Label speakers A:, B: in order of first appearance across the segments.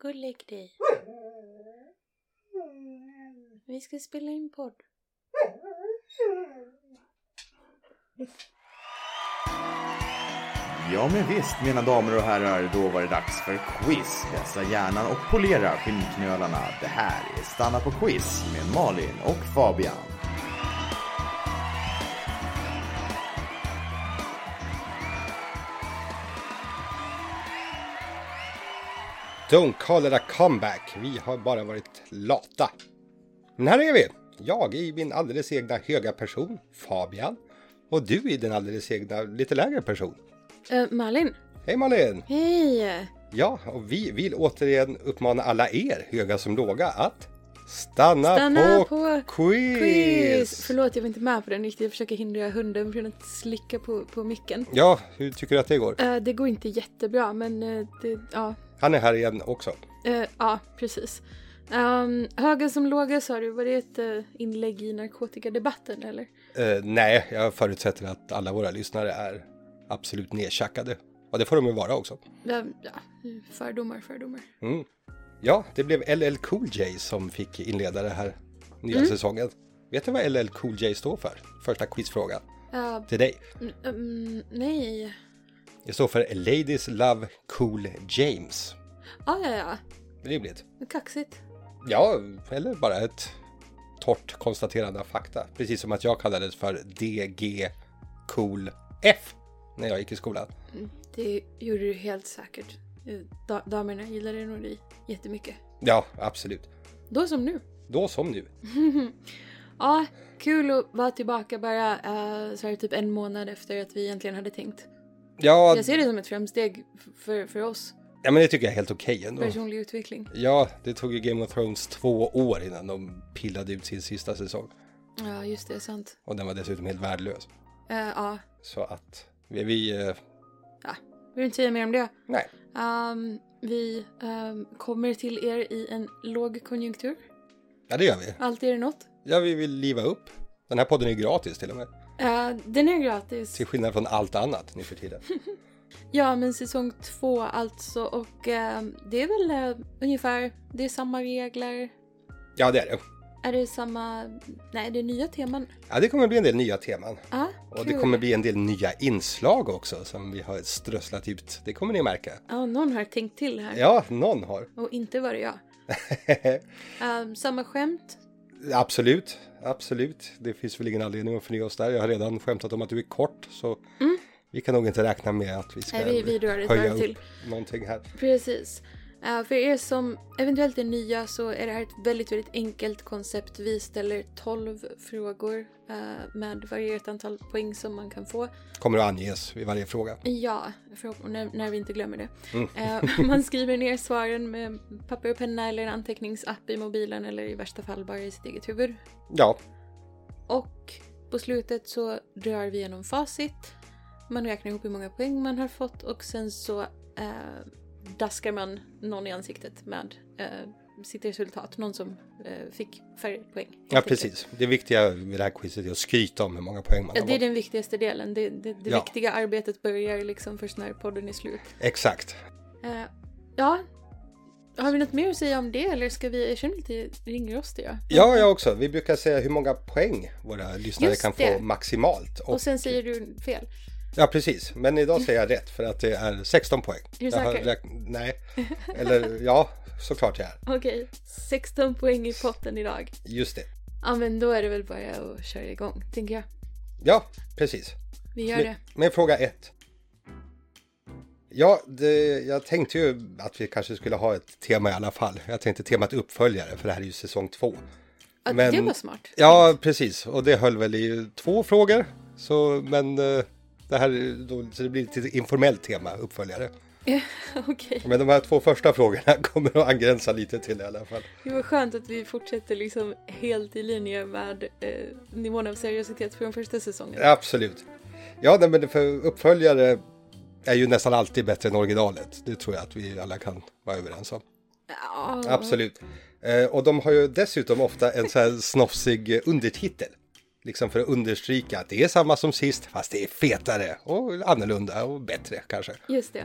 A: Gullig grej. Vi ska spela in podd.
B: Ja men visst mina damer och herrar, då var det dags för quiz. Vässa hjärnan och polera skinnknölarna. Det här är Stanna på quiz med Malin och Fabian.
C: Don't call it a comeback. Vi har bara varit lata. Men här är vi! Jag i min alldeles egna höga person, Fabian. Och du i din alldeles egna lite lägre person.
A: Eh, Malin.
C: Hej Malin!
A: Hej!
C: Ja, och vi vill återigen uppmana alla er, höga som låga, att stanna,
A: Stanna
C: på,
A: på
C: quiz!
A: Quiz! Förlåt, jag var inte med på den riktigt. Jag försöker hindra hunden från att slicka på, på micken.
C: Ja, hur tycker du att det går?
A: Eh, det går inte jättebra, men eh, det, ja.
C: Han är här igen också.
A: Eh, ja, precis. Um, höga som låga sa du, var det ett eh, inlägg i narkotikadebatten eller?
C: Eh, nej, jag förutsätter att alla våra lyssnare är absolut nedtjackade. Och det får de ju vara också.
A: Ja, ja, fördomar, fördomar.
C: Mm. Ja, det blev LL Cool J som fick inleda det här nya
A: Mm.
C: säsongen. Vet du vad LL Cool J står för? Första quizfrågan
A: Eh,
C: till dig.
A: mm, mm, nej.
C: Det står för Ladies Love Cool James.
A: Ah, ja, ja,
C: Rimligt.
A: ja. Kaxigt.
C: Ja, eller bara ett torrt konstaterande av fakta. Precis som att jag kallades för DG Cool F när jag gick i skolan.
A: Det gjorde du helt säkert. Eh, Da damerna gillade nog dig jättemycket.
C: Ja, absolut.
A: Då som nu.
C: Då som nu.
A: Ja, kul att vara tillbaka bara eh, så här typ en månad efter att vi egentligen hade tänkt.
C: Ja,
A: Jag ser det som ett framsteg f- för, för oss.
C: ja men det tycker jag är helt okej ändå.
A: Personlig utveckling.
C: Ja, det tog ju Game of Thrones två år innan de pillade ut sin sista säsong.
A: Ja, just det. Sant.
C: Och den var dessutom helt värdelös.
A: Eh, ja,
C: Så att vi... vi eh,
A: vill inte säga mer om det.
C: nej.
A: Ehm, vi ehm, kommer till er i en låg konjunktur.
C: Ja, det gör vi.
A: Alltid är det något.
C: Ja, vi vill liva upp. Den här podden är gratis till och med.
A: Eh, den är gratis.
C: Till skillnad från allt annat nu för tiden.
A: Ja, men säsong två alltså. Och ehm, det är väl eh, ungefär, det är samma regler.
C: Ja, det är det.
A: Är det samma, nej det är nya teman.
C: Ja, det kommer bli en del nya teman.
A: Ja,
C: Och det
A: kul.
C: kommer bli en del nya inslag också som vi har strösslat ut. Det kommer ni märka.
A: Ja, någon har tänkt till här.
C: Ja, någon har.
A: Och inte var det jag. Ehm, samma skämt.
C: Absolut, absolut. Det finns väl ingen anledning att förnya oss där. Jag har redan skämtat om att du är kort så vi kan nog inte räkna med att vi ska
A: Mm. Nej, vi- vi drar ett
C: höja
A: varv
C: upp
A: till.
C: någonting här.
A: Precis. Eh, för er som eventuellt är nya så är det här ett väldigt, väldigt enkelt koncept. Vi ställer 12 frågor eh, med varierat antal poäng som man kan få.
C: Kommer att anges vid varje fråga.
A: Ja, förhopp- när, när vi inte glömmer det.
C: Mm.
A: Eh, man skriver ner svaren med papper och penna eller en anteckningsapp i mobilen eller i värsta fall bara i sitt eget huvud.
C: Ja,
A: Och på slutet så drar vi igenom facit. Man räknar ihop hur många poäng man har fått och sen så eh, daskar man någon i ansiktet med eh, sitt resultat. Någon som eh, fick färre poäng. helt
C: ja
A: enkelt.
C: precis. Det viktiga med det här quizet är att skryta om hur många poäng man
A: Ja,
C: har
A: det är
C: fått.
A: den viktigaste delen. Det, det, det
C: Ja.
A: viktiga arbetet börjar liksom först när podden är slut.
C: Exakt.
A: Eh, ja. Har vi något mer att säga om det eller ska vi... Jag känner lite ringrostig ja.
C: Ja, jag också. Vi brukar säga hur många poäng våra lyssnare
A: Just
C: kan
A: det.
C: få maximalt. Och,
A: Och sen säger du fel.
C: Ja, precis. Men idag säger jag rätt för att det är 16 poäng.
A: du
C: Jag har
A: säker?
C: räkn- Nej. Eller ja, såklart jag är.
A: Okej, 16 poäng i potten idag.
C: Just det.
A: Ja men då är det väl bara att köra igång, tänker jag.
C: Ja, precis.
A: Vi gör
C: Men,
A: det.
C: men fråga ett. Ja, det, jag tänkte ju att vi kanske skulle ha ett tema i alla fall. Jag tänkte temat uppföljare, för det här är ju säsong två.
A: Ja,
C: men-
A: Det var smart.
C: Ja, precis. Och det höll väl i två frågor. Så, men eh, det här är då, så det blir ett lite informellt tema, uppföljare.
A: Okej.
C: Men de här två första frågorna kommer att angränsa lite till i alla fall.
A: Det var skönt att vi fortsätter liksom helt i linje med eh, nivån av seriositet från första säsongen.
C: Absolut. Ja, nej, men för uppföljare är ju nästan alltid bättre än originalet. Det tror jag att vi alla kan vara överens om.
A: Ja.
C: Absolut. Eh, och de har ju dessutom ofta en så här snofsig eh, undertitel. Liksom för att understryka att det är samma som sist fast det är fetare och annorlunda och bättre kanske.
A: Just det.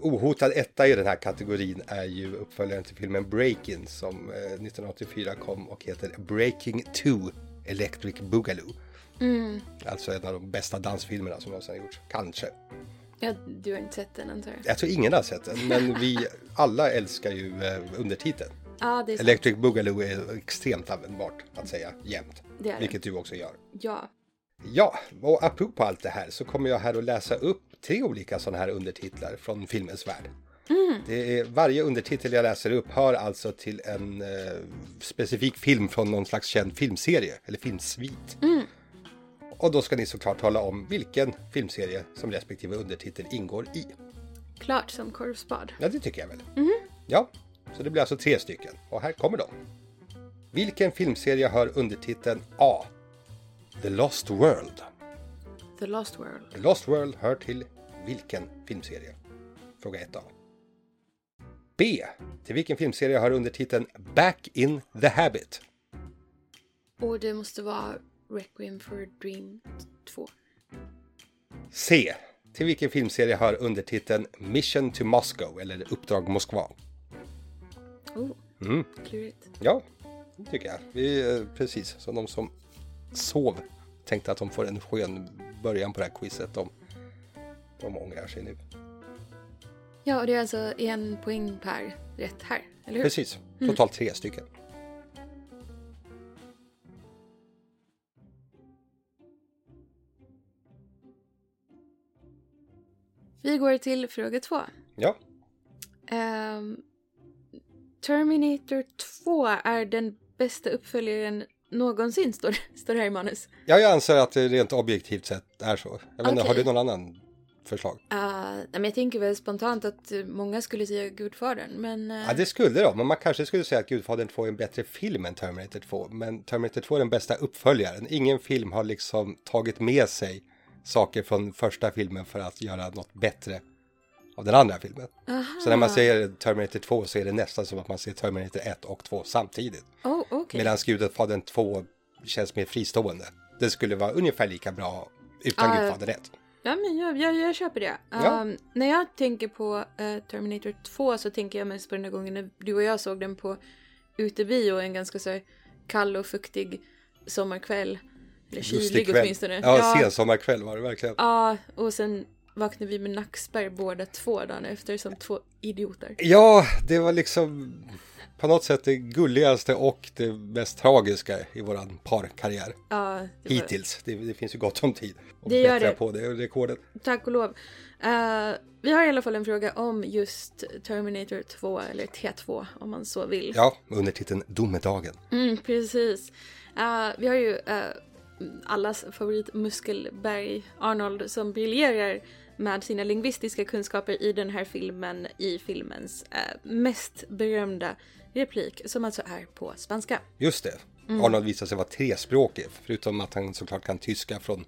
C: Ohotad etta i den här kategorin är ju uppföljaren till filmen Breakin som eh, 1984 kom och heter Breaking 2 Electric Boogaloo. Alltså en av de bästa dansfilmerna som någonsin har gjorts, kanske.
A: Ja, du har inte sett den antar jag? Ja,
C: Jag tror ingen har sett den, men vi alla älskar ju eh, undertiteln.
A: ah, det är sant.
C: Electric Boogaloo är extremt användbart att säga jämt,
A: Det är det.
C: vilket du också gör.
A: Ja.
C: Ja, och apropå allt det här så kommer jag här att läsa upp tre olika sådana här undertitlar från filmens värld.
A: Mm.
C: Det är, varje undertitel jag läser upp hör alltså till en eh, specifik film från någon slags känd filmserie eller filmsvit.
A: Mm.
C: Och då ska ni såklart tala om vilken filmserie som respektive undertitel ingår i.
A: Klart som korvspad.
C: Ja, det tycker jag väl. Ja, så det blir alltså tre stycken. Och här kommer de. Vilken filmserie hör undertiteln A? The Lost World.
A: The Lost World.
C: The Lost World hör till vilken filmserie? Fråga 1A. B. Till vilken filmserie hör undertiteln Back in the Habit?
A: Och det måste vara Requiem for a Dream 2.
C: C. Till vilken filmserie hör undertiteln Mission to Moscow eller Uppdrag Moskva?
A: Oh,
C: Mm.
A: klurigt.
C: Ja, det tycker jag. Vi är precis som de som sov tänkte att de får en skön början på det här quizet. De, de ångrar sig nu.
A: Ja, och det är alltså en poäng per rätt här, eller hur?
C: Precis, totalt tre stycken.
A: Vi går till fråga två.
C: Ja,
A: Ehm, Terminator 2 är den bästa uppföljaren någonsin, står, står det här i manus.
C: Ja, jag anser att det rent objektivt sett är så. Jag menar,
A: Okej.
C: har du någon annan förslag?
A: Eh, nej, men jag tänker väl spontant att eh, många skulle säga Gudfadern, men... eh,
C: Ja, det skulle de. Men man kanske skulle säga att Gudfadern 2 är en bättre film än Terminator 2. Men Terminator 2 är den bästa uppföljaren. Ingen film har liksom tagit med sig saker från första filmen för att göra något bättre av den andra filmen.
A: Aha.
C: Så när man säger Terminator 2 så är det nästan som att man ser Terminator 1 och 2 samtidigt.
A: Oh, okej.
C: Medan Gudfadern 2 känns mer fristående. Det skulle vara ungefär lika bra utan
A: Ja,
C: Gudfadern 1.
A: Ja, men jag, jag, jag köper det.
C: Ja.
A: Ehm, när jag tänker på eh, Terminator 2 så tänker jag mest på den där gången när du och jag såg den på utebio en ganska så här kall och fuktig sommarkväll. Eller kylig åtminstone.
C: Ja, sensommarkväll var det verkligen.
A: ja, och sen vaknade vi med nackspärr båda två dagen efter som två idioter.
C: Ja, det var liksom på något sätt det gulligaste och det mest tragiska i våran parkarriär
A: Ja, det var-
C: hittills. Det, det finns ju gott om tid att
A: Det gör
C: bättra
A: det.
C: på det rekordet.
A: Tack och lov. Eh, vi har i alla fall en fråga om just Terminator 2 eller T2 om man så vill.
C: Ja, under titeln Domedagen.
A: Mm, precis. Eh, vi har ju eh, allas favorit Muskelberg, Arnold, som briljerar med sina lingvistiska kunskaper i den här filmen, i filmens eh, mest berömda replik, som alltså är på spanska.
C: Just det.
A: Mm.
C: Arnold visar sig vara trespråkig. Förutom att han såklart kan tyska från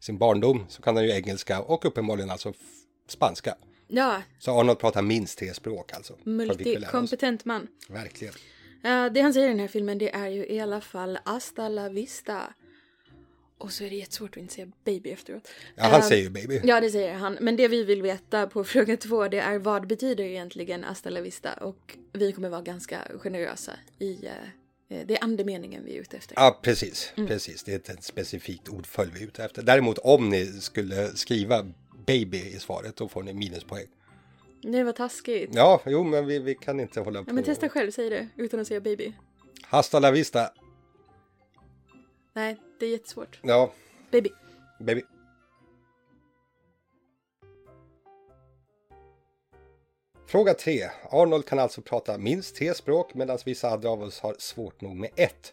C: sin barndom så kan han ju engelska och uppenbarligen alltså f- spanska.
A: Ja,
C: Så Arnold pratar minst tre språk alltså. Vad fick vi lära oss?
A: multikompetent man.
C: Verkligen.
A: Eh, det han säger i den här filmen, det är ju i alla fall hasta la vista. Och så är det jättesvårt att inte säga baby efteråt.
C: Ja, han
A: Eh,
C: säger ju baby.
A: Ja, det säger han. Men det vi vill veta på fråga två, det är vad betyder egentligen hasta la vista? Och vi kommer vara ganska generösa i... Eh, det är andemeningen vi är ute efter.
C: Ja, precis. precis. Det är inte ett specifikt ordföljd vi är ute efter. Däremot om ni skulle skriva baby i svaret, då får ni minuspoäng.
A: Nej, vad taskigt.
C: Ja, jo, men vi, vi kan inte hålla på.
A: Ja, men testa själv, säg det utan att säga baby.
C: Hasta la vista.
A: Nej, det är jättesvårt.
C: Ja,
A: Baby.
C: baby. Fråga 3. Arnold kan alltså prata minst tre språk medan vissa andra av oss har svårt nog med ett.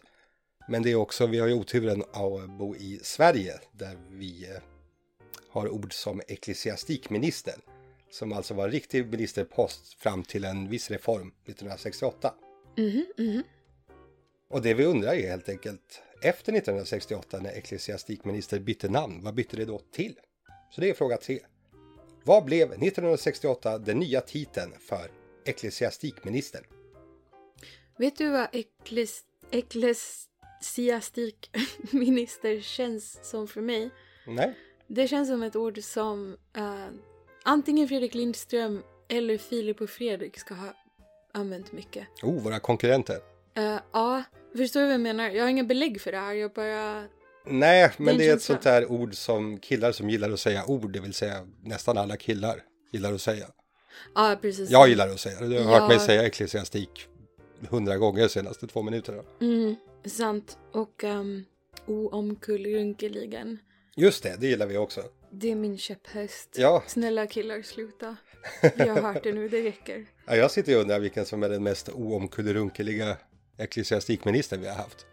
C: Men det är också, vi har ju oturen att bo i Sverige där vi eh, har ord som ecklesiastikminister. Som alltså var en riktig ministerpost fram till en viss reform 1968.
A: Mhm, mhm.
C: Och det vi undrar är helt enkelt, efter 1968 när ecklesiastikminister bytte namn, vad bytte det då till? Så det är fråga tre. Vad blev 1968 den nya titeln för ecklesiastikminister?
A: Vet du vad ekles... ekles... siastikminister känns som för mig.
C: Nej.
A: Det känns som ett ord som eh, antingen Fredrik Lindström eller Filip och Fredrik ska ha använt mycket.
C: Oh, våra konkurrenter.
A: Eh, ja, förstår du vad jag menar? Jag har inga belägg för det här, jag bara...
C: Nej,
A: Det är
C: men
A: en
C: det är ett
A: känsla.
C: sånt där ord som killar som gillar att säga ord, det vill säga nästan alla killar gillar att säga.
A: Ja, precis.
C: Jag gillar att säga det. Du har hört mig
A: Ja.
C: säga ecklesiastik hundra gånger de senaste två minuterna.
A: Mm, sant. Och um, oomkullrunkeligen.
C: Just det, det gillar vi också.
A: Det är min käpphäst.
C: Ja,
A: Snälla killar, sluta. Vi har hört det nu, det räcker.
C: ja, jag sitter och undrar vilken som är den mest oomkullrunkeliga ecklesiastikministern vi har haft.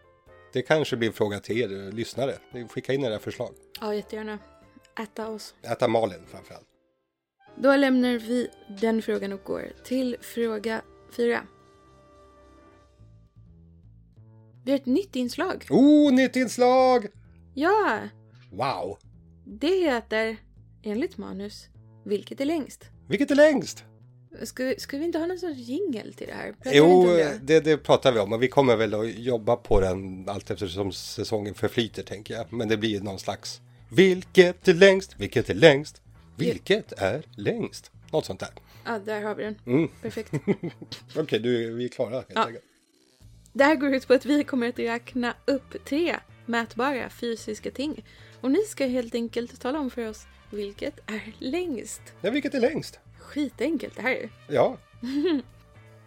C: Det kanske blir en fråga till er eh, lyssnare. Ni Skicka in era förslag.
A: Ja, jättegärna. Äta oss.
C: Äta Malin framförallt.
A: Då lämnar vi den frågan och går till fråga fyra. Vi har ett nytt inslag.
C: Oh, nytt inslag!
A: Ja,
C: Wow!
A: det heter enligt manus Vilket är längst?
C: Vilket är längst?
A: Ska, vi- ska vi inte ha någon sorts jingel till det här? Pratar vi
C: Jo, eh.
A: inte om det?
C: det, det pratar vi om och vi kommer väl att jobba på den allt eftersom säsongen förflyter tänker jag. Men det blir någon slags Vilket är längst? Vilket är längst? Vilket är längst? Något sånt där.
A: Ja, där har vi den.
C: Mm.
A: Perfekt.
C: Okej, du, vi är klara helt
A: Ja.
C: enkelt.
A: Det här går ut på att vi kommer att räkna upp tre mätbara fysiska ting. Och ni ska helt enkelt tala om för oss vilket är längst.
C: Ja, vilket är längst?
A: Skitenkelt det här är.
C: Ja,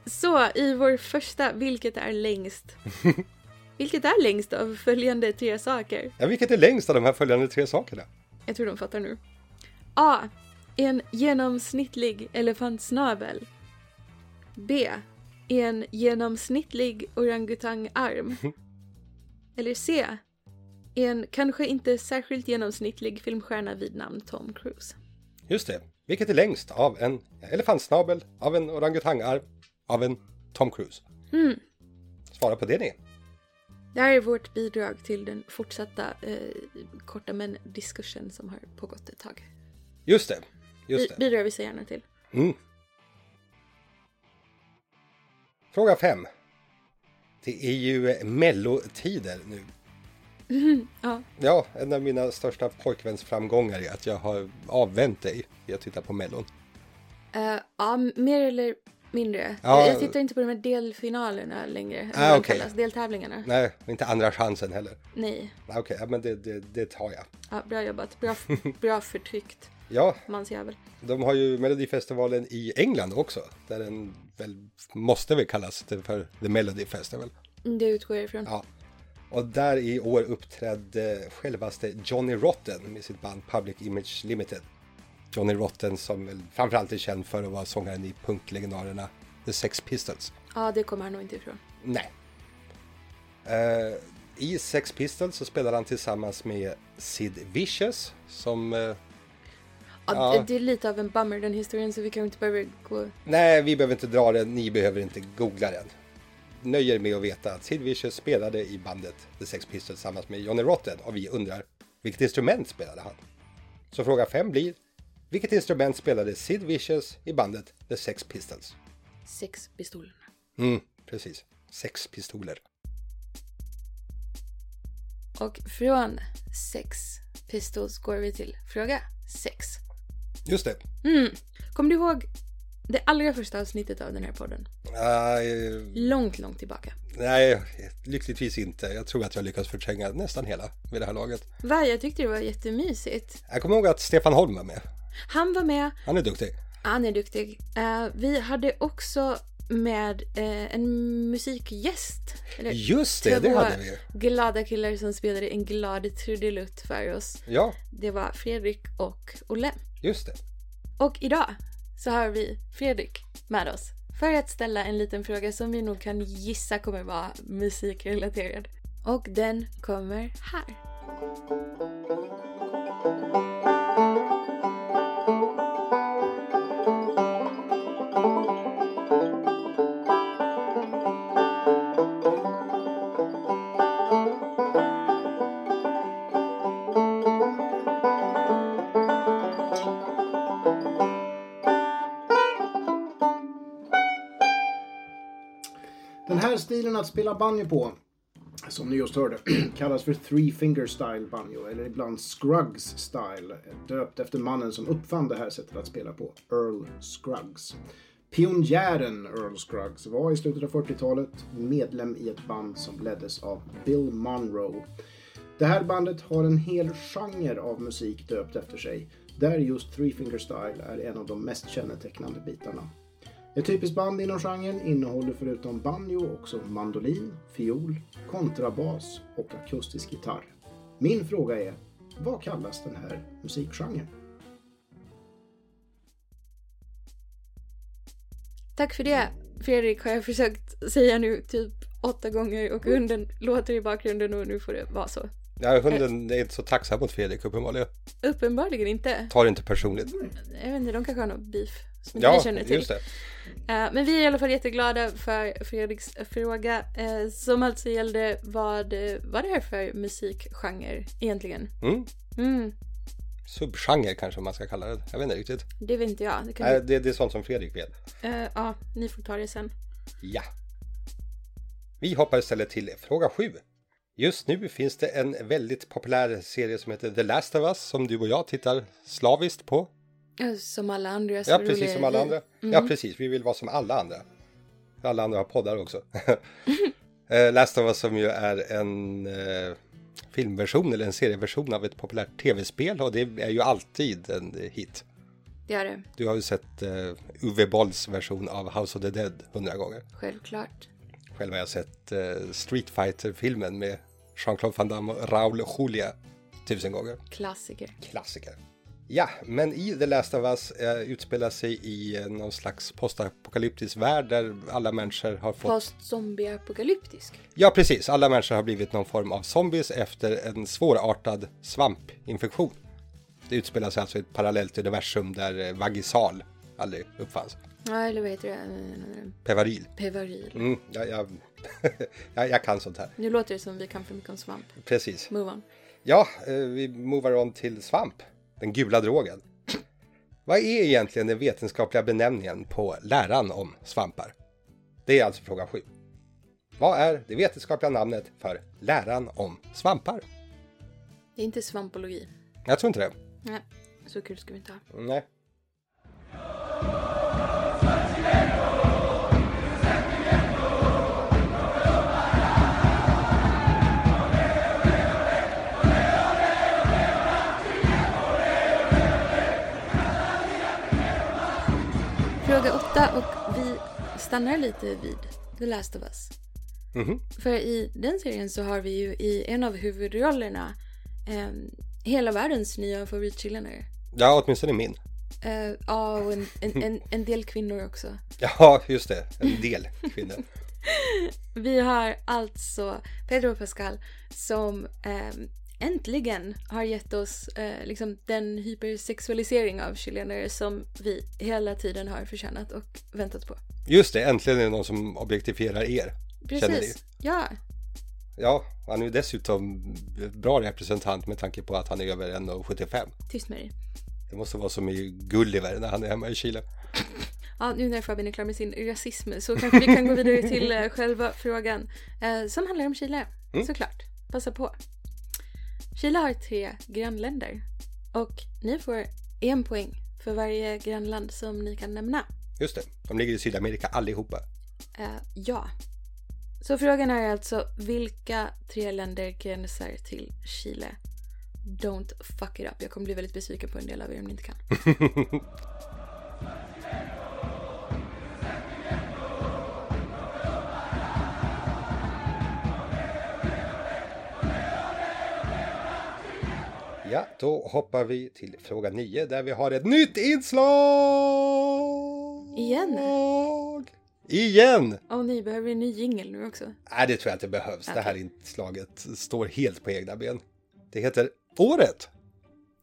A: Så i vår första Vilket är längst? vilket är längst av följande tre saker?
C: ja vilket är längst av de här följande tre sakerna?
A: Jag tror de fattar nu. A. En genomsnittlig elefantsnabel. B. En genomsnittlig orangutangarm. Eller C. En kanske inte särskilt genomsnittlig filmstjärna vid namn Tom Cruise.
C: Just det. Vilket är längst av en elefantsnabel, av en orangutangarm, av en Tom Cruise?
A: Mm.
C: Svara på det ni.
A: Det här är vårt bidrag till den fortsatta eh, korta men diskursen som har pågått ett tag.
C: Just det. Just
A: Bi-
C: det.
A: bidrar vi så gärna till.
C: Mm. Fråga 5. Det är ju mellotider nu.
A: Ja,
C: Ja, en av mina största pojkvänsframgångar är att jag har avvänt dig i att titta på mellon.
A: Eh, ja mer eller mindre.
C: Ja.
A: Jag, jag tittar inte på de här delfinalerna längre. eller
C: Ah,
A: vad de
C: okej.
A: kallas, deltävlingarna. Nej.
C: Nej, inte andra chansen heller. Okej, ja, men det, det, det tar jag.
A: Ja, bra jobbat. Bra, bra förtryckt,
C: Ja,
A: mansjävel.
C: de har ju Melodifestivalen i England också. Där den väl måste väl kallas för The Melody Festival.
A: Mm, Det utgår jag ifrån.
C: Ja. Och där i år uppträdde självaste Johnny Rotten med sitt band Public Image Limited. Johnny Rotten som väl framförallt är känd för att vara sångaren i punklegendarerna The Sex Pistols.
A: Ja, det kommer han nog inte ifrån.
C: Nej. Eh, I Sex Pistols så spelade han tillsammans med Sid Vicious som... eh,
A: Ja,
C: Ja.
A: Det, det är lite av en bummer den historien så vi kan inte behöva gå...
C: nej, vi behöver inte dra den, ni behöver inte googla den. Nöjer er med att veta att Sid Vicious spelade i bandet The Sex Pistols tillsammans med Johnny Rotten och vi undrar vilket instrument spelade han? Så fråga fem blir vilket instrument spelade Sid Vicious i bandet The Sex Pistols?
A: Sex pistolerna.
C: Mm, precis. Sex pistoler.
A: Och från sex pistols går vi till fråga sex.
C: Just det.
A: Mm. Kommer du ihåg det allra första avsnittet av den här podden?
C: Eh,
A: Långt, långt tillbaka.
C: Nej, lyckligtvis inte. Jag tror att jag lyckas förtränga nästan hela vid det här laget.
A: Va, jag tyckte det var jättemysigt.
C: Jag kommer ihåg att Stefan Holm var med.
A: Han var med,
C: Han är duktig.
A: han är duktig. Eh, vi hade också med eh, en musikgäst. Eller
C: Just det, det
A: två
C: hade vi.
A: glada killar som spelade en glad trudelutt för oss.
C: Ja,
A: Det var Fredrik och Olle.
C: just det.
A: Och idag så har vi Fredrik med oss för att ställa en liten fråga som vi nog kan gissa kommer vara musikrelaterad. Och den kommer här.
D: Den här stilen att spela banjo på som ni just hörde, kallas för Three Finger Style Banjo, eller ibland Scruggs Style, döpt efter mannen som uppfann det här sättet att spela på, Earl Scruggs. Pionjären Earl Scruggs var i slutet av 40-talet medlem i ett band som leddes av Bill Monroe. Det här bandet har en hel genre av musik döpt efter sig, där just Three Finger Style är en av de mest kännetecknande bitarna. Ett typiskt band inom genren innehåller förutom banjo också mandolin, fiol, kontrabas och akustisk gitarr. Min fråga är, vad kallas den här musikgenren?
A: Tack för det. Fredrik har jag försökt säga nu typ åtta gånger och hunden låter i bakgrunden och nu får det vara så.
C: Ja,
A: Eh.
C: hunden är inte så tacksam mot Fredrik uppenbarligen.
A: Uppenbarligen inte.
C: Tar det inte personligt.
A: Jag vet inte, de kanske har någon beef som inte vi
C: Ja,
A: Mm, känner till.
C: just det.
A: Eh, Men vi är i alla fall jätteglada för Fredriks fråga eh, som alltså gällde vad, eh, vad det är för musikgenre egentligen.
C: Mm.
A: Mm,
C: Subgenre kanske man ska kalla det. Jag vet inte riktigt.
A: det vet inte jag. Det kan
C: Nej, det, det är sånt som Fredrik vet.
A: Eh, ja, ni får ta det sen.
C: Ja. Vi hoppar istället till fråga 7. Just nu finns det en väldigt populär serie som heter The Last of Us som du och jag tittar slaviskt på.
A: Ja, Som alla andra så
C: Ja,
A: roliga
C: precis som alla
A: vi.
C: andra. Ja, precis. Vi vill vara som alla andra. Alla andra har poddar också. Eh, Last of Us som ju är en eh, filmversion eller en serieversion av ett populärt tv-spel och det är ju alltid en hit.
A: Det är det,
C: Du har ju sett eh, Uwe Bolls version av House of the Dead hundra gånger.
A: självklart.
C: Själv har jag sett eh, Street Fighter-filmen med Jean-Claude Van Damme och Raoul Julia tusen gånger.
A: Klassiker.
C: Klassiker. Ja, men i The Last of Us eh, utspelar sig i eh, någon slags postapokalyptisk värld där alla människor har fått...
A: Post-zombie-apokalyptisk.
C: Ja, precis. Alla människor har blivit någon form av zombies efter en svårartad svampinfektion. Det utspelar sig alltså i ett parallellt universum där eh, vagisal aldrig uppfanns.
A: Ja, eller vad heter det? Eh,
C: Pevaril.
A: Pevaril.
C: Mm, jag, jag, jag, jag kan sånt här.
A: Nu låter det som vi kan för mycket om svamp.
C: Precis.
A: Move on.
C: Ja, eh, vi movar on till svamp, den gula drogen. Vad är egentligen den vetenskapliga benämningen på läran om svampar? Det är alltså fråga 7. Vad är det vetenskapliga namnet för läran om svampar?
A: Det är inte svampologi.
C: Jag tror inte det.
A: Nej, så kul ska vi inte ha.
C: Nej.
A: Fråga åtta och vi stannar lite vid The Last of Us.
C: Mhm.
A: För i den serien så har vi ju i en av huvudrollerna ehm, hela världens nya favoritkillare.
C: Ja, åtminstone min.
A: Eh, Ja, och en, en, en, en del kvinnor också.
C: Ja, just det. En del kvinnor.
A: Vi har alltså Pedro Pascal som ehm, äntligen har gett oss eh, liksom den hypersexualisering av chilenare som vi hela tiden har förtjänat och väntat på.
C: Just det, äntligen är det någon som objektifierar er. Känner ni?
A: Precis. Ja,
C: Ja, han är ju dessutom bra representant med tanke på att han är över 1,75.
A: tyst med dig.
C: Det måste vara som i Gulliver när han är hemma i Chile.
A: Ja, nu när Fabian är klar med sin rasism så kanske vi kan gå vidare till eh, själva frågan eh, som handlar om Chile. Såklart. Passa på. Chile har tre grannländer och ni får en poäng för varje grannland som ni kan nämna.
C: Just det, de ligger i Sydamerika allihopa.
A: Eh, ja. Så frågan är alltså vilka tre länder gränsar till Chile? Don't fuck it up. Jag kommer bli väldigt besviken på en del av er om ni inte kan.
C: Ja, då hoppar vi till fråga 9 där vi har ett nytt inslag!
A: Igen?
C: Igen!
A: Åh nej, behöver vi en ny jingel nu också?
C: Nej, det tror jag inte behövs. Det här inslaget står helt på egna ben. Det heter Året!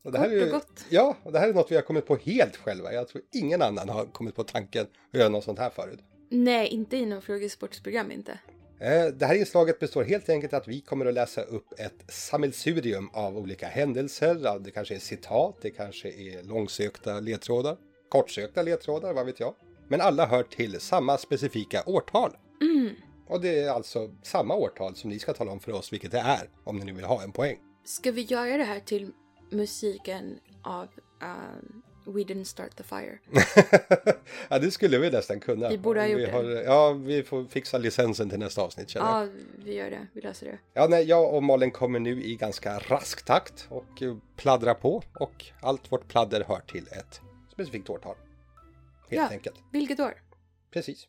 C: Och det här är
A: Kort och
C: ju-
A: gott.
C: Ja, och det här är något vi har kommit på helt själva. Jag tror ingen annan har kommit på tanken att göra något sånt här förut.
A: Nej, inte i någon frågesportsprogram inte.
C: Eh, Det här inslaget består helt enkelt att vi kommer att läsa upp ett sammelsurium av olika händelser. Ja, Det kanske är citat, det kanske är långsökta ledtrådar,
A: Mm.
C: kortsökta ledtrådar, vad vet jag. Men alla hör till samma specifika årtal. Och det är alltså samma årtal som ni ska tala om för oss vilket det är om ni nu vill ha en poäng.
A: Ska vi göra det här till musiken av ehm, We Didn't Start The Fire?
C: ja, det skulle vi nästan kunna.
A: Vi borde ha gjort
C: vi
A: det.
C: Ja, vi får fixa licensen till nästa avsnitt känner jag.
A: Ja, vi gör det. Vi löser det.
C: Ja, nej, jag och Malin kommer nu i ganska rask takt och eh, pladdrar på och allt vårt pladder hör till ett specifikt årtal. Helt
A: Ja.
C: enkelt.
A: Vilket år?
C: Precis.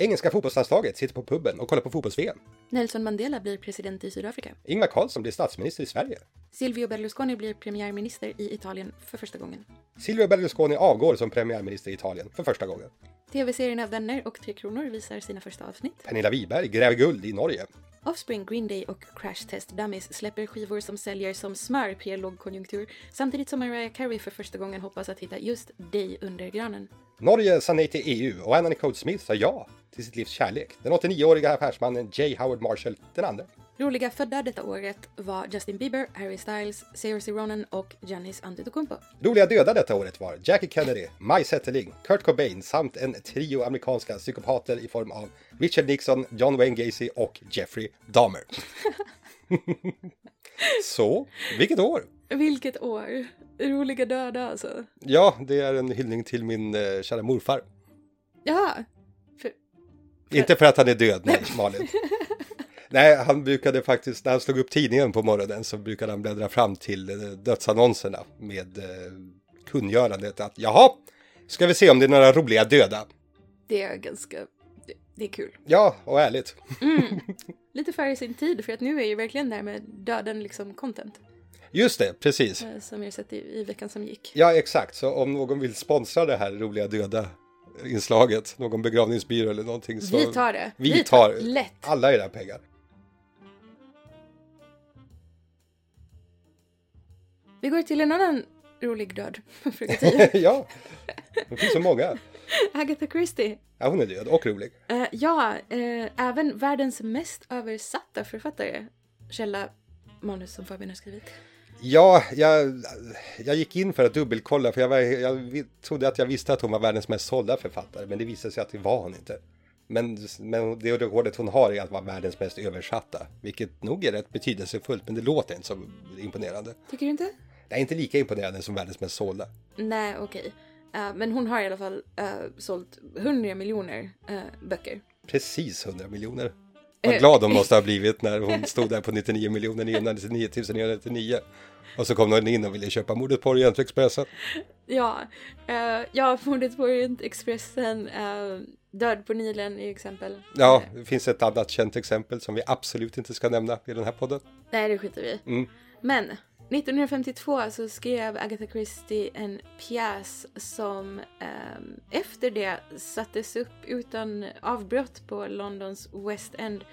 C: Engelska fotbollslandslaget sitter på puben och kollar på fotbolls-VM.
A: Nelson Mandela blir president i Sydafrika.
C: Ingvar Carlsson blir statsminister i Sverige.
A: Silvio Berlusconi blir premiärminister i Italien för första gången.
C: Silvio Berlusconi avgår som premiärminister i Italien för första gången.
A: TV-serierna Vänner och Tre Kronor visar sina första avsnitt.
C: Pernilla Wiberg gräver guld i Norge.
A: Offspring, Green Day och Crash Test Dummies släpper skivor som säljer som smör i en lågkonjunktur samtidigt som Mariah Carey för första gången hoppas att hitta just dig under granen.
C: Norge sa nej till EU och Anna Nicole Smith sa ja till sitt livs kärlek. Den 89-åriga affärsmannen J. Howard Marshall den andra.
A: Roliga födda detta året var Justin Bieber, Harry Styles, Saoirse Ronan och Janis Antetokounmpo.
C: Roliga döda detta året var Jackie Kennedy, Maj Zetterling, Kurt Cobain samt en trio amerikanska psykopater i form av Richard Nixon, John Wayne Gacy och Jeffrey Dahmer. Så, vilket år!
A: Vilket år! Roliga döda alltså.
C: Ja, det är en hyllning till min eh, kära morfar.
A: Ja,
C: Inte för att han är död, nej, Malin. Nej, han brukade faktiskt, när han slog upp tidningen på morgonen så brukade han bläddra fram till eh, dödsannonserna med eh, kungörandet att jaha, ska vi se om det är några roliga döda.
A: det är ganska... Det, det är kul.
C: Ja, och ärligt.
A: Lite före sin tid för att nu är ju verkligen det här med döden liksom content.
C: Just det, precis.
A: eh, Som jag sett i, i veckan som gick.
C: Ja, exakt. Så om någon vill sponsra det här roliga döda inslaget, någon begravningsbyrå eller någonting så...
A: Vi tar det.
C: Vi, tar,
A: lätt.
C: alla era pengar.
A: Vi går till en annan rolig död. Fråga tio.
C: ja, det finns så många.
A: Agatha Christie.
C: Ja, hon är död och rolig.
A: Eh, ja, eh, även världens mest översatta författare. Källa manus som Fabian har skrivit.
C: Ja, jag, jag gick in för att dubbelkolla för jag, var, jag vi- trodde att jag visste att hon var världens mest sålda författare men det visade sig att det var hon inte. Men, men det rekordet hon har är att vara världens mest översatta, vilket nog är rätt betydelsefullt men det låter inte så imponerande.
A: Tycker du inte?
C: Det är inte lika imponerande som världens mest sålda.
A: Nej, okej. Eh, men hon har i alla fall uh, sålt 100 miljoner eh, böcker.
C: Precis 100 miljoner. Vad
A: Eh.
C: glad hon måste ha blivit när hon stod där på 99 miljoner 999 999. Och så kom någon in och ville köpa mordet på Orientexpressen.
A: Ja, uh, ja Mordet på Orientexpressen, eh, Död på Nilen är exempel.
C: Ja, det finns ett annat känt exempel som vi absolut inte ska nämna i den här podden.
A: Nej, det skiter vi i.
C: Mm.
A: Men 1952 så skrev Agatha Christie en pjäs som ehm, efter det sattes upp utan avbrott på Londons West End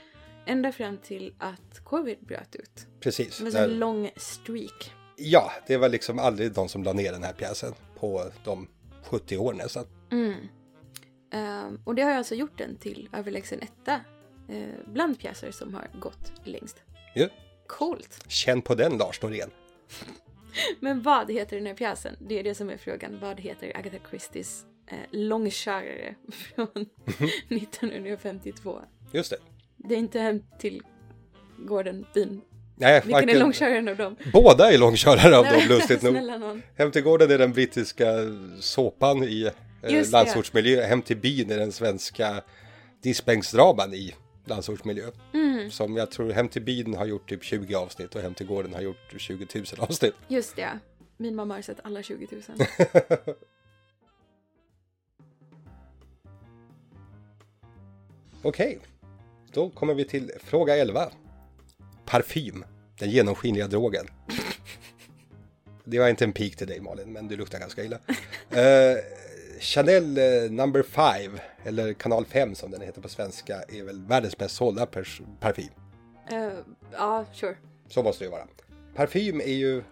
A: ända fram till att covid bröt ut.
C: Precis.
A: Som en
C: Där-
A: sån lång streak.
C: Ja, det var liksom aldrig de som la ner den här pjäsen på de 70 år nästan.
A: Ehm, och det har alltså gjort den till överlägsen etta eh, bland pjäser som har gått längst.
C: Ja.
A: Coolt!
C: Känn på den Lars Norén.
A: Men vad heter den här pjäsen? Det är det som är frågan. Vad heter Agatha Christies eh, långkörare från 1952?
C: Just det.
A: Det är inte hem till gården, byn.
C: Nej,
A: Vilken är långköraren av dem?
C: Båda är långkörare av
A: Nej,
C: dem, lustigt nog.
A: Snälla någon.
C: Hem till gården är den brittiska såpan i eh,
A: Just det.
C: landsortsmiljö. Hem till byn är den svenska diskbänksdraman i landsortsmiljö.
A: Mm.
C: Som jag tror Hem till byn har gjort typ 20 avsnitt och Hem till gården har gjort 20 000 avsnitt.
A: Just det. Min mamma har sett alla 20 000.
C: Okej, då kommer vi till fråga 11. Parfym, den genomskinliga drogen. Det var inte en pik till dig Malin, men du luktar ganska illa. Eh, Chanel eh, number 5, eller kanal 5 som den heter på svenska, är väl världens mest sålda pers- parfym.
A: Eh, ja, sure.
C: Så måste det ju vara. Parfym är ju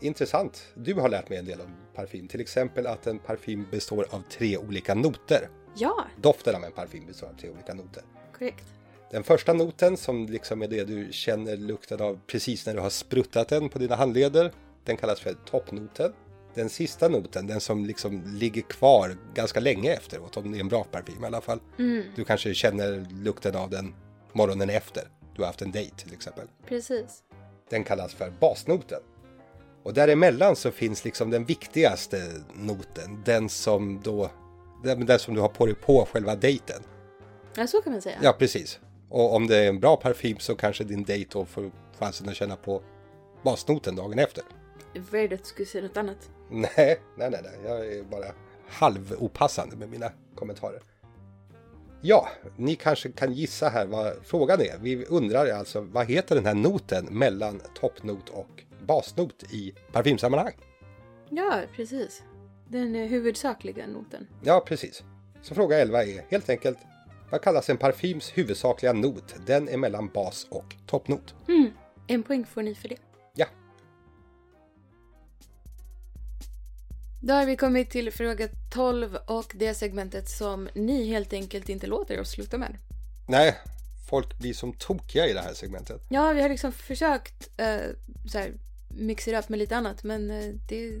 C: intressant. Du har lärt mig en del om parfym, till exempel att en parfym består av tre olika noter.
A: Ja,
C: Doften av en parfym består av tre olika noter.
A: korrekt.
C: Den första noten som liksom är det du känner lukten av precis när du har spruttat den på dina handleder. Den kallas för toppnoten. den sista noten, den som liksom ligger kvar ganska länge efteråt, om det är en bra parfym i alla fall. Du kanske känner lukten av den morgonen efter. Du har haft en dejt till exempel.
A: Precis.
C: Den kallas för basnoten. Och däremellan så finns liksom den viktigaste noten, den som då, den, den som du har på dig på själva dejten.
A: Ja, så kan man säga.
C: Ja, precis. Och om det är en bra parfym så kanske din dejt då får chansen att känna på basnoten dagen efter.
A: Väldigt att du skulle säga något annat.
C: Nej, nej, nej, nej. jag är bara halvopassande med mina kommentarer. Ja, ni kanske kan gissa här vad frågan är. Vi undrar alltså vad heter den här noten mellan toppnot och basnot i parfymsammanhang?
A: Ja, precis. Den eh, huvudsakliga noten.
C: Ja, precis. Så fråga 11 är helt enkelt vad kallas en parfyms huvudsakliga not? Den är mellan bas och toppnot.
A: En poäng får ni för det.
C: Ja,
A: Då har vi kommit till fråga 12 och det segmentet som ni helt enkelt inte låter oss sluta med.
C: nej, folk blir som tokiga i det här segmentet.
A: Ja, vi har liksom försökt eh, så här, mixa det upp med lite annat men eh, det,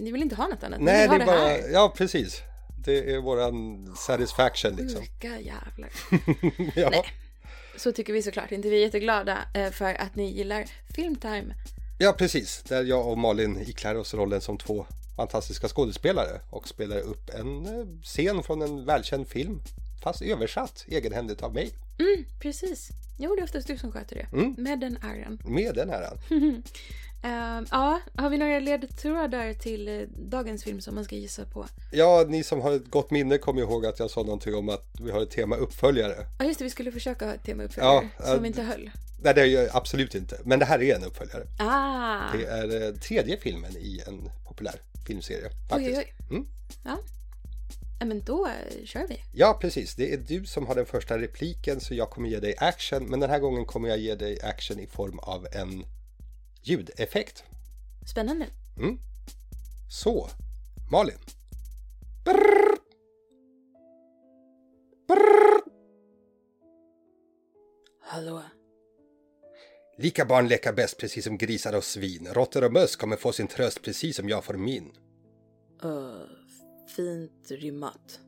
A: ni vill inte ha något annat. Ni
C: Nej,
A: vill
C: det
A: ha
C: är bara... Ja, precis. Det är våran satisfaction liksom.
A: Sjuka jävlar. Mm.
C: ja.
A: Så tycker vi såklart inte. Vi är jätteglada eh, för att ni gillar Filmtime.
C: ja, precis. Där jag och Malin iklär oss rollen som två fantastiska skådespelare och spelar upp en eh, scen från en välkänd film. Fast översatt egenhändigt av mig.
A: Precis. Jo, det är oftast du som sköter det.
C: Mm.
A: Med den äran.
C: Med den här.
A: Ehm, ja, har vi några ledtrådar till eh, dagens film som man ska gissa på?
C: Ja, ni som har ett gott minne kommer ihåg att jag sa någonting om att vi har ett tema uppföljare.
A: Ja, just det. Vi skulle försöka ha ett tema uppföljare
C: Ja,
A: som
C: eh,
A: inte höll.
C: Nej, det är ju absolut inte. Men det här är en uppföljare.
A: Ah!
C: Det är eh, tredje filmen i en populär filmserie. Faktiskt.
A: Oj, oj, oj.
C: Mm.
A: Ja. ja, men då eh, kör vi.
C: Ja, precis. Det är du som har den första repliken så jag kommer ge dig action. Men den här gången kommer jag ge dig action i form av en ljudeffekt.
A: Spännande.
C: Så, Malin.
A: Hallå?
C: Lika barn leka bäst precis som grisar och svin. Råttor och möss kommer få sin tröst precis som jag får min.
A: Uh, fint rimmat.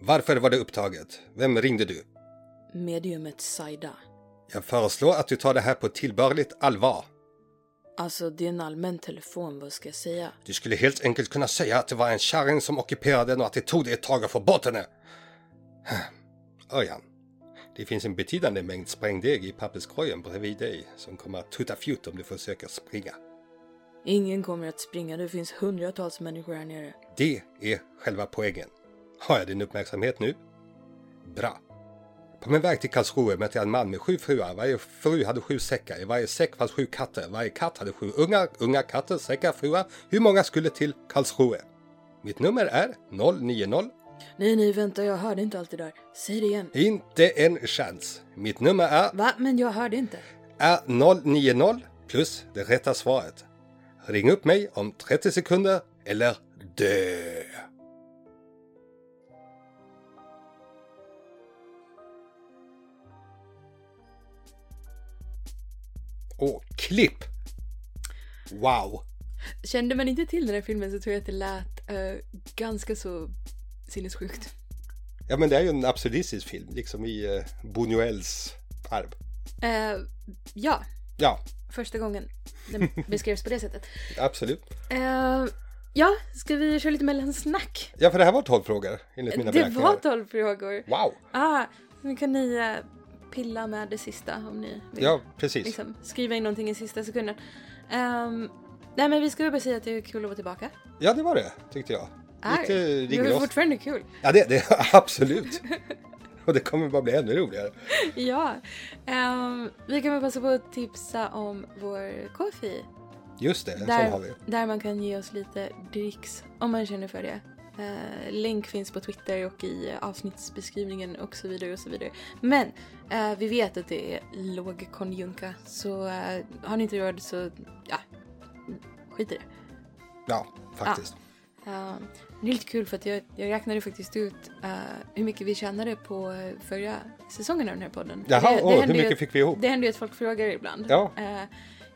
C: Varför var det upptaget? Vem ringde du?
A: Mediumet Saida.
C: Jag föreslår att du tar det här på tillbörligt allvar.
A: Alltså, det är en allmän telefon, vad ska jag säga?
C: Du skulle helt enkelt kunna säga att det var en kärring som ockuperade den och att det tog dig ett tag att få bort henne. Örjan, det finns en betydande mängd sprängdeg i papperskorgen bredvid dig som kommer att tuta fjut om du försöker springa.
A: Ingen kommer att springa, det finns hundratals människor här nere.
C: Det är själva poängen. Har jag din uppmärksamhet nu? Bra. På min väg till Karlsruhe mötte jag en man med sju fruar. Varje fru hade sju säckar. I varje säck fanns sju katter. Varje katt hade sju ungar. Unga katter, säckar, fruar. Hur många skulle till Karlsruhe? Mitt nummer är 090
A: Nej, nej, vänta, jag hörde inte allt det där. Säg det igen.
C: Inte en chans. Mitt nummer är,
A: Va? Men jag hörde inte.
C: är 090 plus det rätta svaret. Ring upp mig om 30 sekunder eller dö. Och klipp! Wow!
A: Kände man inte till den här filmen så tror jag att det lät eh, ganska så sinnessjukt.
C: Ja men det är ju en absurdistisk film, liksom i eh, Buñuels arv.
A: Eh, ja,
C: Ja,
A: första gången den beskrevs på det sättet.
C: absolut.
A: Eh, ja, ska vi köra lite mellansnack?
C: Ja för det här var 12 frågor enligt mina
A: Eh, Det
C: beräkningar.
A: var 12 frågor.
C: Wow!
A: Ah, nu kan ni eh, pilla med det sista om ni vill.
C: Ja, precis.
A: Liksom, skriva in någonting i sista sekunden. Ehm, nej men vi ska väl bara säga att det är kul att vara tillbaka.
C: Ja, det var det, tyckte jag.
A: Är.
C: Lite
A: Vi har ju
C: ringrostig.
A: fortfarande kul.
C: Ja, det, det absolut. Och det kommer bara bli ännu roligare.
A: Ja. Ehm, vi kan väl passa på att tipsa om vår Kofi.
C: Just det, en sån har vi.
A: Där, där man kan ge oss lite dricks om man känner för det. Eh, länk finns på Twitter och i eh, avsnittsbeskrivningen och så vidare och så vidare. Men eh, vi vet att det är låg konjunka så eh, har ni inte råd så ja, skit i det.
C: Ja, faktiskt.
A: Eh, det är lite kul för att jag, jag räknade faktiskt ut eh, hur mycket vi tjänade på eh, förra säsongen av den här podden.
C: Jaha,
A: det, det
C: åh, hur
A: händer ju
C: mycket
A: att-
C: fick vi ihop?
A: Det händer ju att folk frågar ibland.
C: Ja.
A: Eh,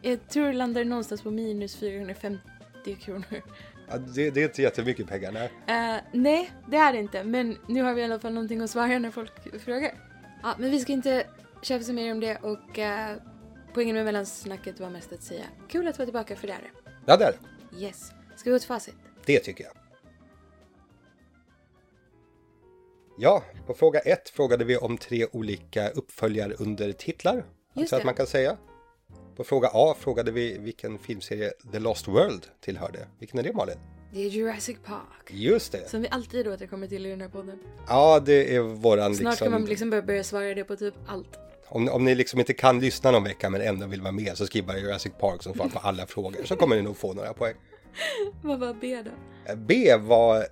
A: jag tror det landar någonstans på minus 450 kronor.
C: Ja, Det, det är inte jättemycket pengar. Nej.
A: Eh, nej, det är det inte. Men nu har vi i alla fall någonting att svara när folk frågar. Ja, men vi ska inte tjafsa mer om det och eh, poängen med mellansnacket var mest att säga kul att vara tillbaka för det är det.
C: Ja, där.
A: Yes. Ska vi gå till facit?
C: Det tycker jag. Ja, på fråga ett frågade vi om tre olika uppföljare under titlar. Alltså att
A: det.
C: man kan säga. På fråga A frågade vi vilken filmserie The Lost World tillhörde. Vilken är det Malin?
A: Det är Jurassic Park.
C: Just det!
A: Som vi alltid återkommer till i den här podden.
C: Ja, det är våran
A: Snart kan man
C: liksom...
A: liksom börja, börja svara det på typ allt.
C: Om, om ni liksom inte kan lyssna någon vecka men ändå vill vara med så skriv bara Jurassic Park som svar på alla frågor så kommer ni nog få några poäng.
A: Vad var B då?
C: B var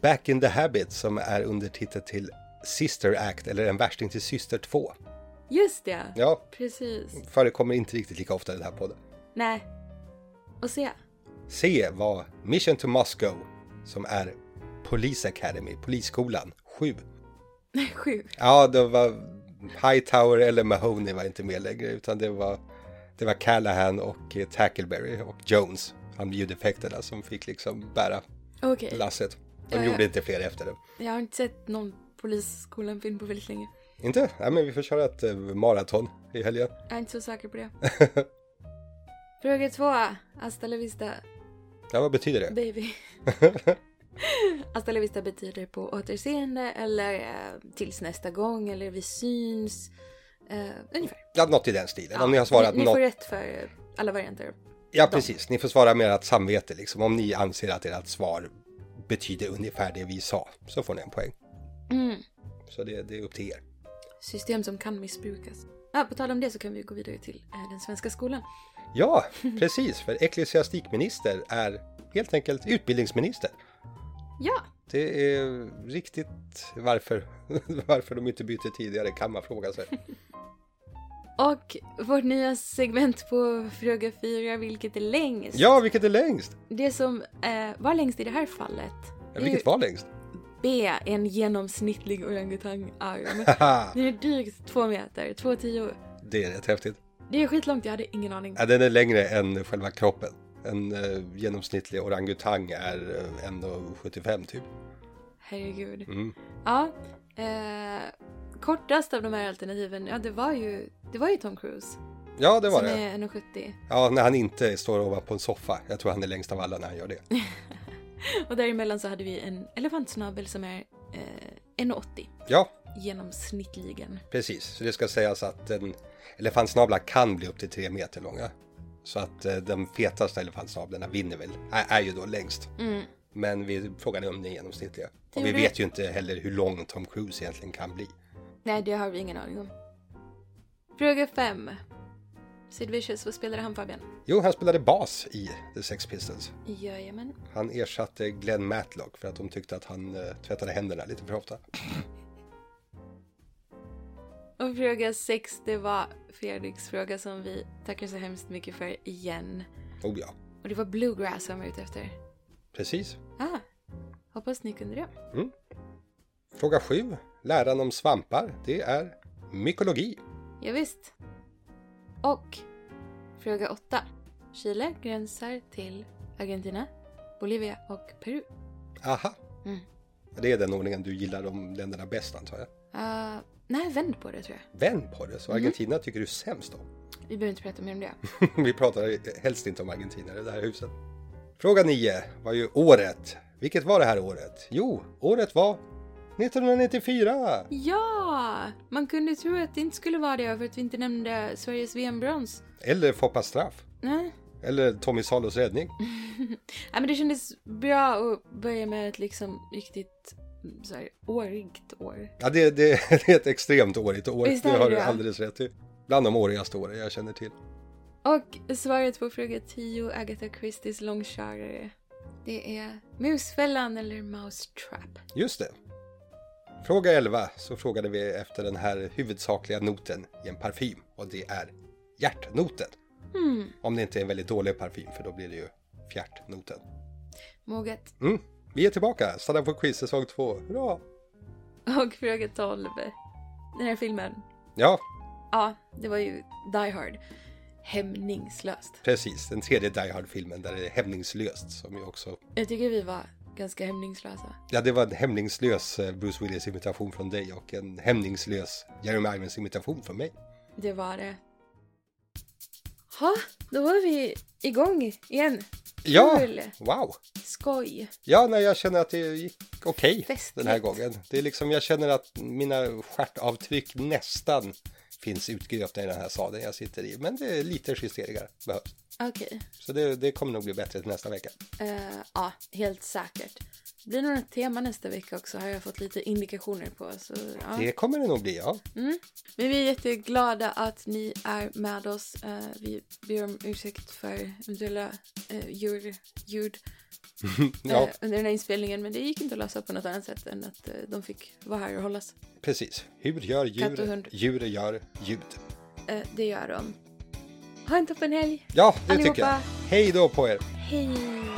C: Back in the Habit som är undertitel till Sister Act eller En värsting till syster 2.
A: Just det!
C: Ja,
A: Precis.
C: förekommer inte riktigt lika ofta i den här podden.
A: Nej. Och C.
C: C var Mission to Moscow som är Police Academy, Polisskolan 7.
A: Sju.
C: Ja, det var Hightower eller Mahoney var inte med längre utan det var det var Callahan och eh, Tackleberry och Jones, han ljudeffekterna som fick liksom bära
A: Okej.
C: lasset. De
A: Ja, ja.
C: gjorde inte fler efter det.
A: Jag har inte sett någon Polisskolan-film på väldigt länge.
C: Inte? Ja, men vi får köra ett eh, maraton i helgen.
A: Jag är inte så säker på det. Fråga två. Hasta la vista,
C: Ja, vad betyder det?
A: baby. Hasta la vista betyder på återseende eller eh, tills nästa gång eller vi syns. Eh, ungefär.
C: Ja, något i den stilen. Om ni har svarat
A: ni, ni
C: något.
A: får rätt för alla varianter.
C: Ja, precis. Ni får svara med ert samvete liksom. Om ni anser att ert svar betyder ungefär det vi sa så får ni en poäng.
A: Mm.
C: Så det, det är upp till er.
A: System som kan missbrukas. Ah, på tal om det så kan vi gå vidare till eh, den svenska skolan.
C: Ja, precis. För ecklesiastikminister är helt enkelt utbildningsminister.
A: Ja,
C: Det är riktigt varför, varför de inte bytte tidigare kan man fråga sig.
A: och vårt nya segment på fråga fyra, vilket är längst?
C: Ja, vilket är längst?
A: Det som eh, var längst i det här fallet,
C: Ja,
A: det är ju
C: vilket var längst?
A: B, en genomsnittlig orangutangarm.
C: Haha,
A: Den är drygt två meter, två tio.
C: det är rätt häftigt.
A: Det är skitlångt, jag hade ingen aning.
C: Ja, den är längre än själva kroppen. En eh, genomsnittlig orangutang är eh, 1,75 typ.
A: Herregud.
C: Mm.
A: Ja, eh, kortast av de här alternativen, ja det var ju, det var ju Tom Cruise.
C: Ja, det var
A: som
C: det.
A: är 1,70.
C: Ja, när han inte står ovanpå en soffa. Jag tror han är längst av alla när han gör det.
A: Och däremellan så hade vi en elefantsnabel som är eh, 1,80
C: Ja,
A: genomsnittligen.
C: precis. Så det ska sägas att en elefantsnablar kan bli upp till tre meter långa. Så att eh, de fetaste elefantsnablarna vinner väl, är, är ju då längst. Men vi frågade om den genomsnittliga. Och vi
A: gjorde
C: vet ju inte heller hur lång Tom Cruise egentligen kan bli.
A: Nej, det har vi ingen aning om. Fråga 5. Sid Vicious, vad spelade han Fabian?
C: Jo, han spelade bas i The Sex Pistols.
A: Jajamän.
C: Han ersatte Glenn Matlock för att de tyckte att han eh, tvättade händerna lite för ofta.
A: Och fråga 6, det var Fredriks fråga som vi tackar så hemskt mycket för igen.
C: Oh ja,
A: Och det var bluegrass han var ute efter.
C: precis.
A: Ah, hoppas ni kunde det.
C: Fråga 7. Läran om svampar, det är mykologi.
A: Ja, visst. Och fråga 8. Chile gränsar till Argentina, Bolivia och Peru.
C: Aha.
A: Mm.
C: Det är den ordningen du gillar de länderna bäst antar jag.
A: Ah, nej, vänd på det tror jag.
C: Vänd på det,
A: Mm.
C: så Argentina tycker du sämst om.
A: Vi behöver inte prata mer om det.
C: Vi pratar helst inte om Argentina i det här huset. Fråga 9 var ju året. Vilket var det här året? Jo, året var 1994!
A: Ja! Man kunde tro att det inte skulle vara det för att vi inte nämnde Sveriges VM-brons.
C: Eller Foppas straff.
A: Nej.
C: Eller Tommy Salos räddning.
A: Nej, men det kändes bra att börja med ett liksom riktigt så här, årigt år.
C: Ja, det, det, det är ett extremt årigt år.
A: Visst
C: Det
A: är
C: har
A: det
C: du
A: det?
C: alldeles rätt i. Bland de årigaste åren jag känner till.
A: Och svaret på fråga 10, Agatha Christies långkörare. Det är Musfällan eller Mousetrap.
C: Just det. Fråga 11 så frågade vi efter den här huvudsakliga noten i en parfym och det är hjärtnoten. Om det inte är en väldigt dålig parfym för då blir det ju fjärtnoten.
A: Moget.
C: Mm. Vi är tillbaka, stanna på quiz säsong 2. Hurra!
A: Och fråga 12. Den här filmen.
C: Ja,
A: Ja, det var ju Die Hard. hämningslöst.
C: Precis, den tredje Die Hard-filmen där det är hämningslöst som ju också...
A: Jag tycker vi var ganska hämningslösa.
C: Ja, det var en hämningslös eh, Bruce Willis imitation från dig och en hämningslös Jeremy Irons imitation från mig.
A: Det var det. Ha, då var vi igång igen.
C: Ja!
A: Kul.
C: Wow!
A: Skoj.
C: Ja, nej, jag känner att det gick okej den här
A: Festligt.
C: gången. Det är liksom, jag känner att mina stjärtavtryck nästan finns utgröpta i den här salen jag sitter i. Men det är lite justeringar behövs.
A: Okej.
C: Så det, det kommer nog bli bättre till nästa vecka.
A: Eh, ja, helt säkert. Det blir nog ett tema nästa vecka också har jag fått lite indikationer på. Så, ja.
C: Det kommer det nog bli, ja. Mm,
A: Men vi är jätteglada att ni är med oss. Eh, vi ber om ursäkt för eventuella eh, djur, ljud
C: ja.
A: eh, under den här inspelningen. Men det gick inte att lösa på något annat sätt än att eh, de fick vara här och hållas.
C: Precis. Hur gör
A: Katt och
C: djur?
A: hund.
C: Djur gör ljud.
A: Eh, det gör de. Ha en toppen helg.
C: Ja, det
A: Allihopa.
C: tycker jag. Hej då på er!
A: Hej!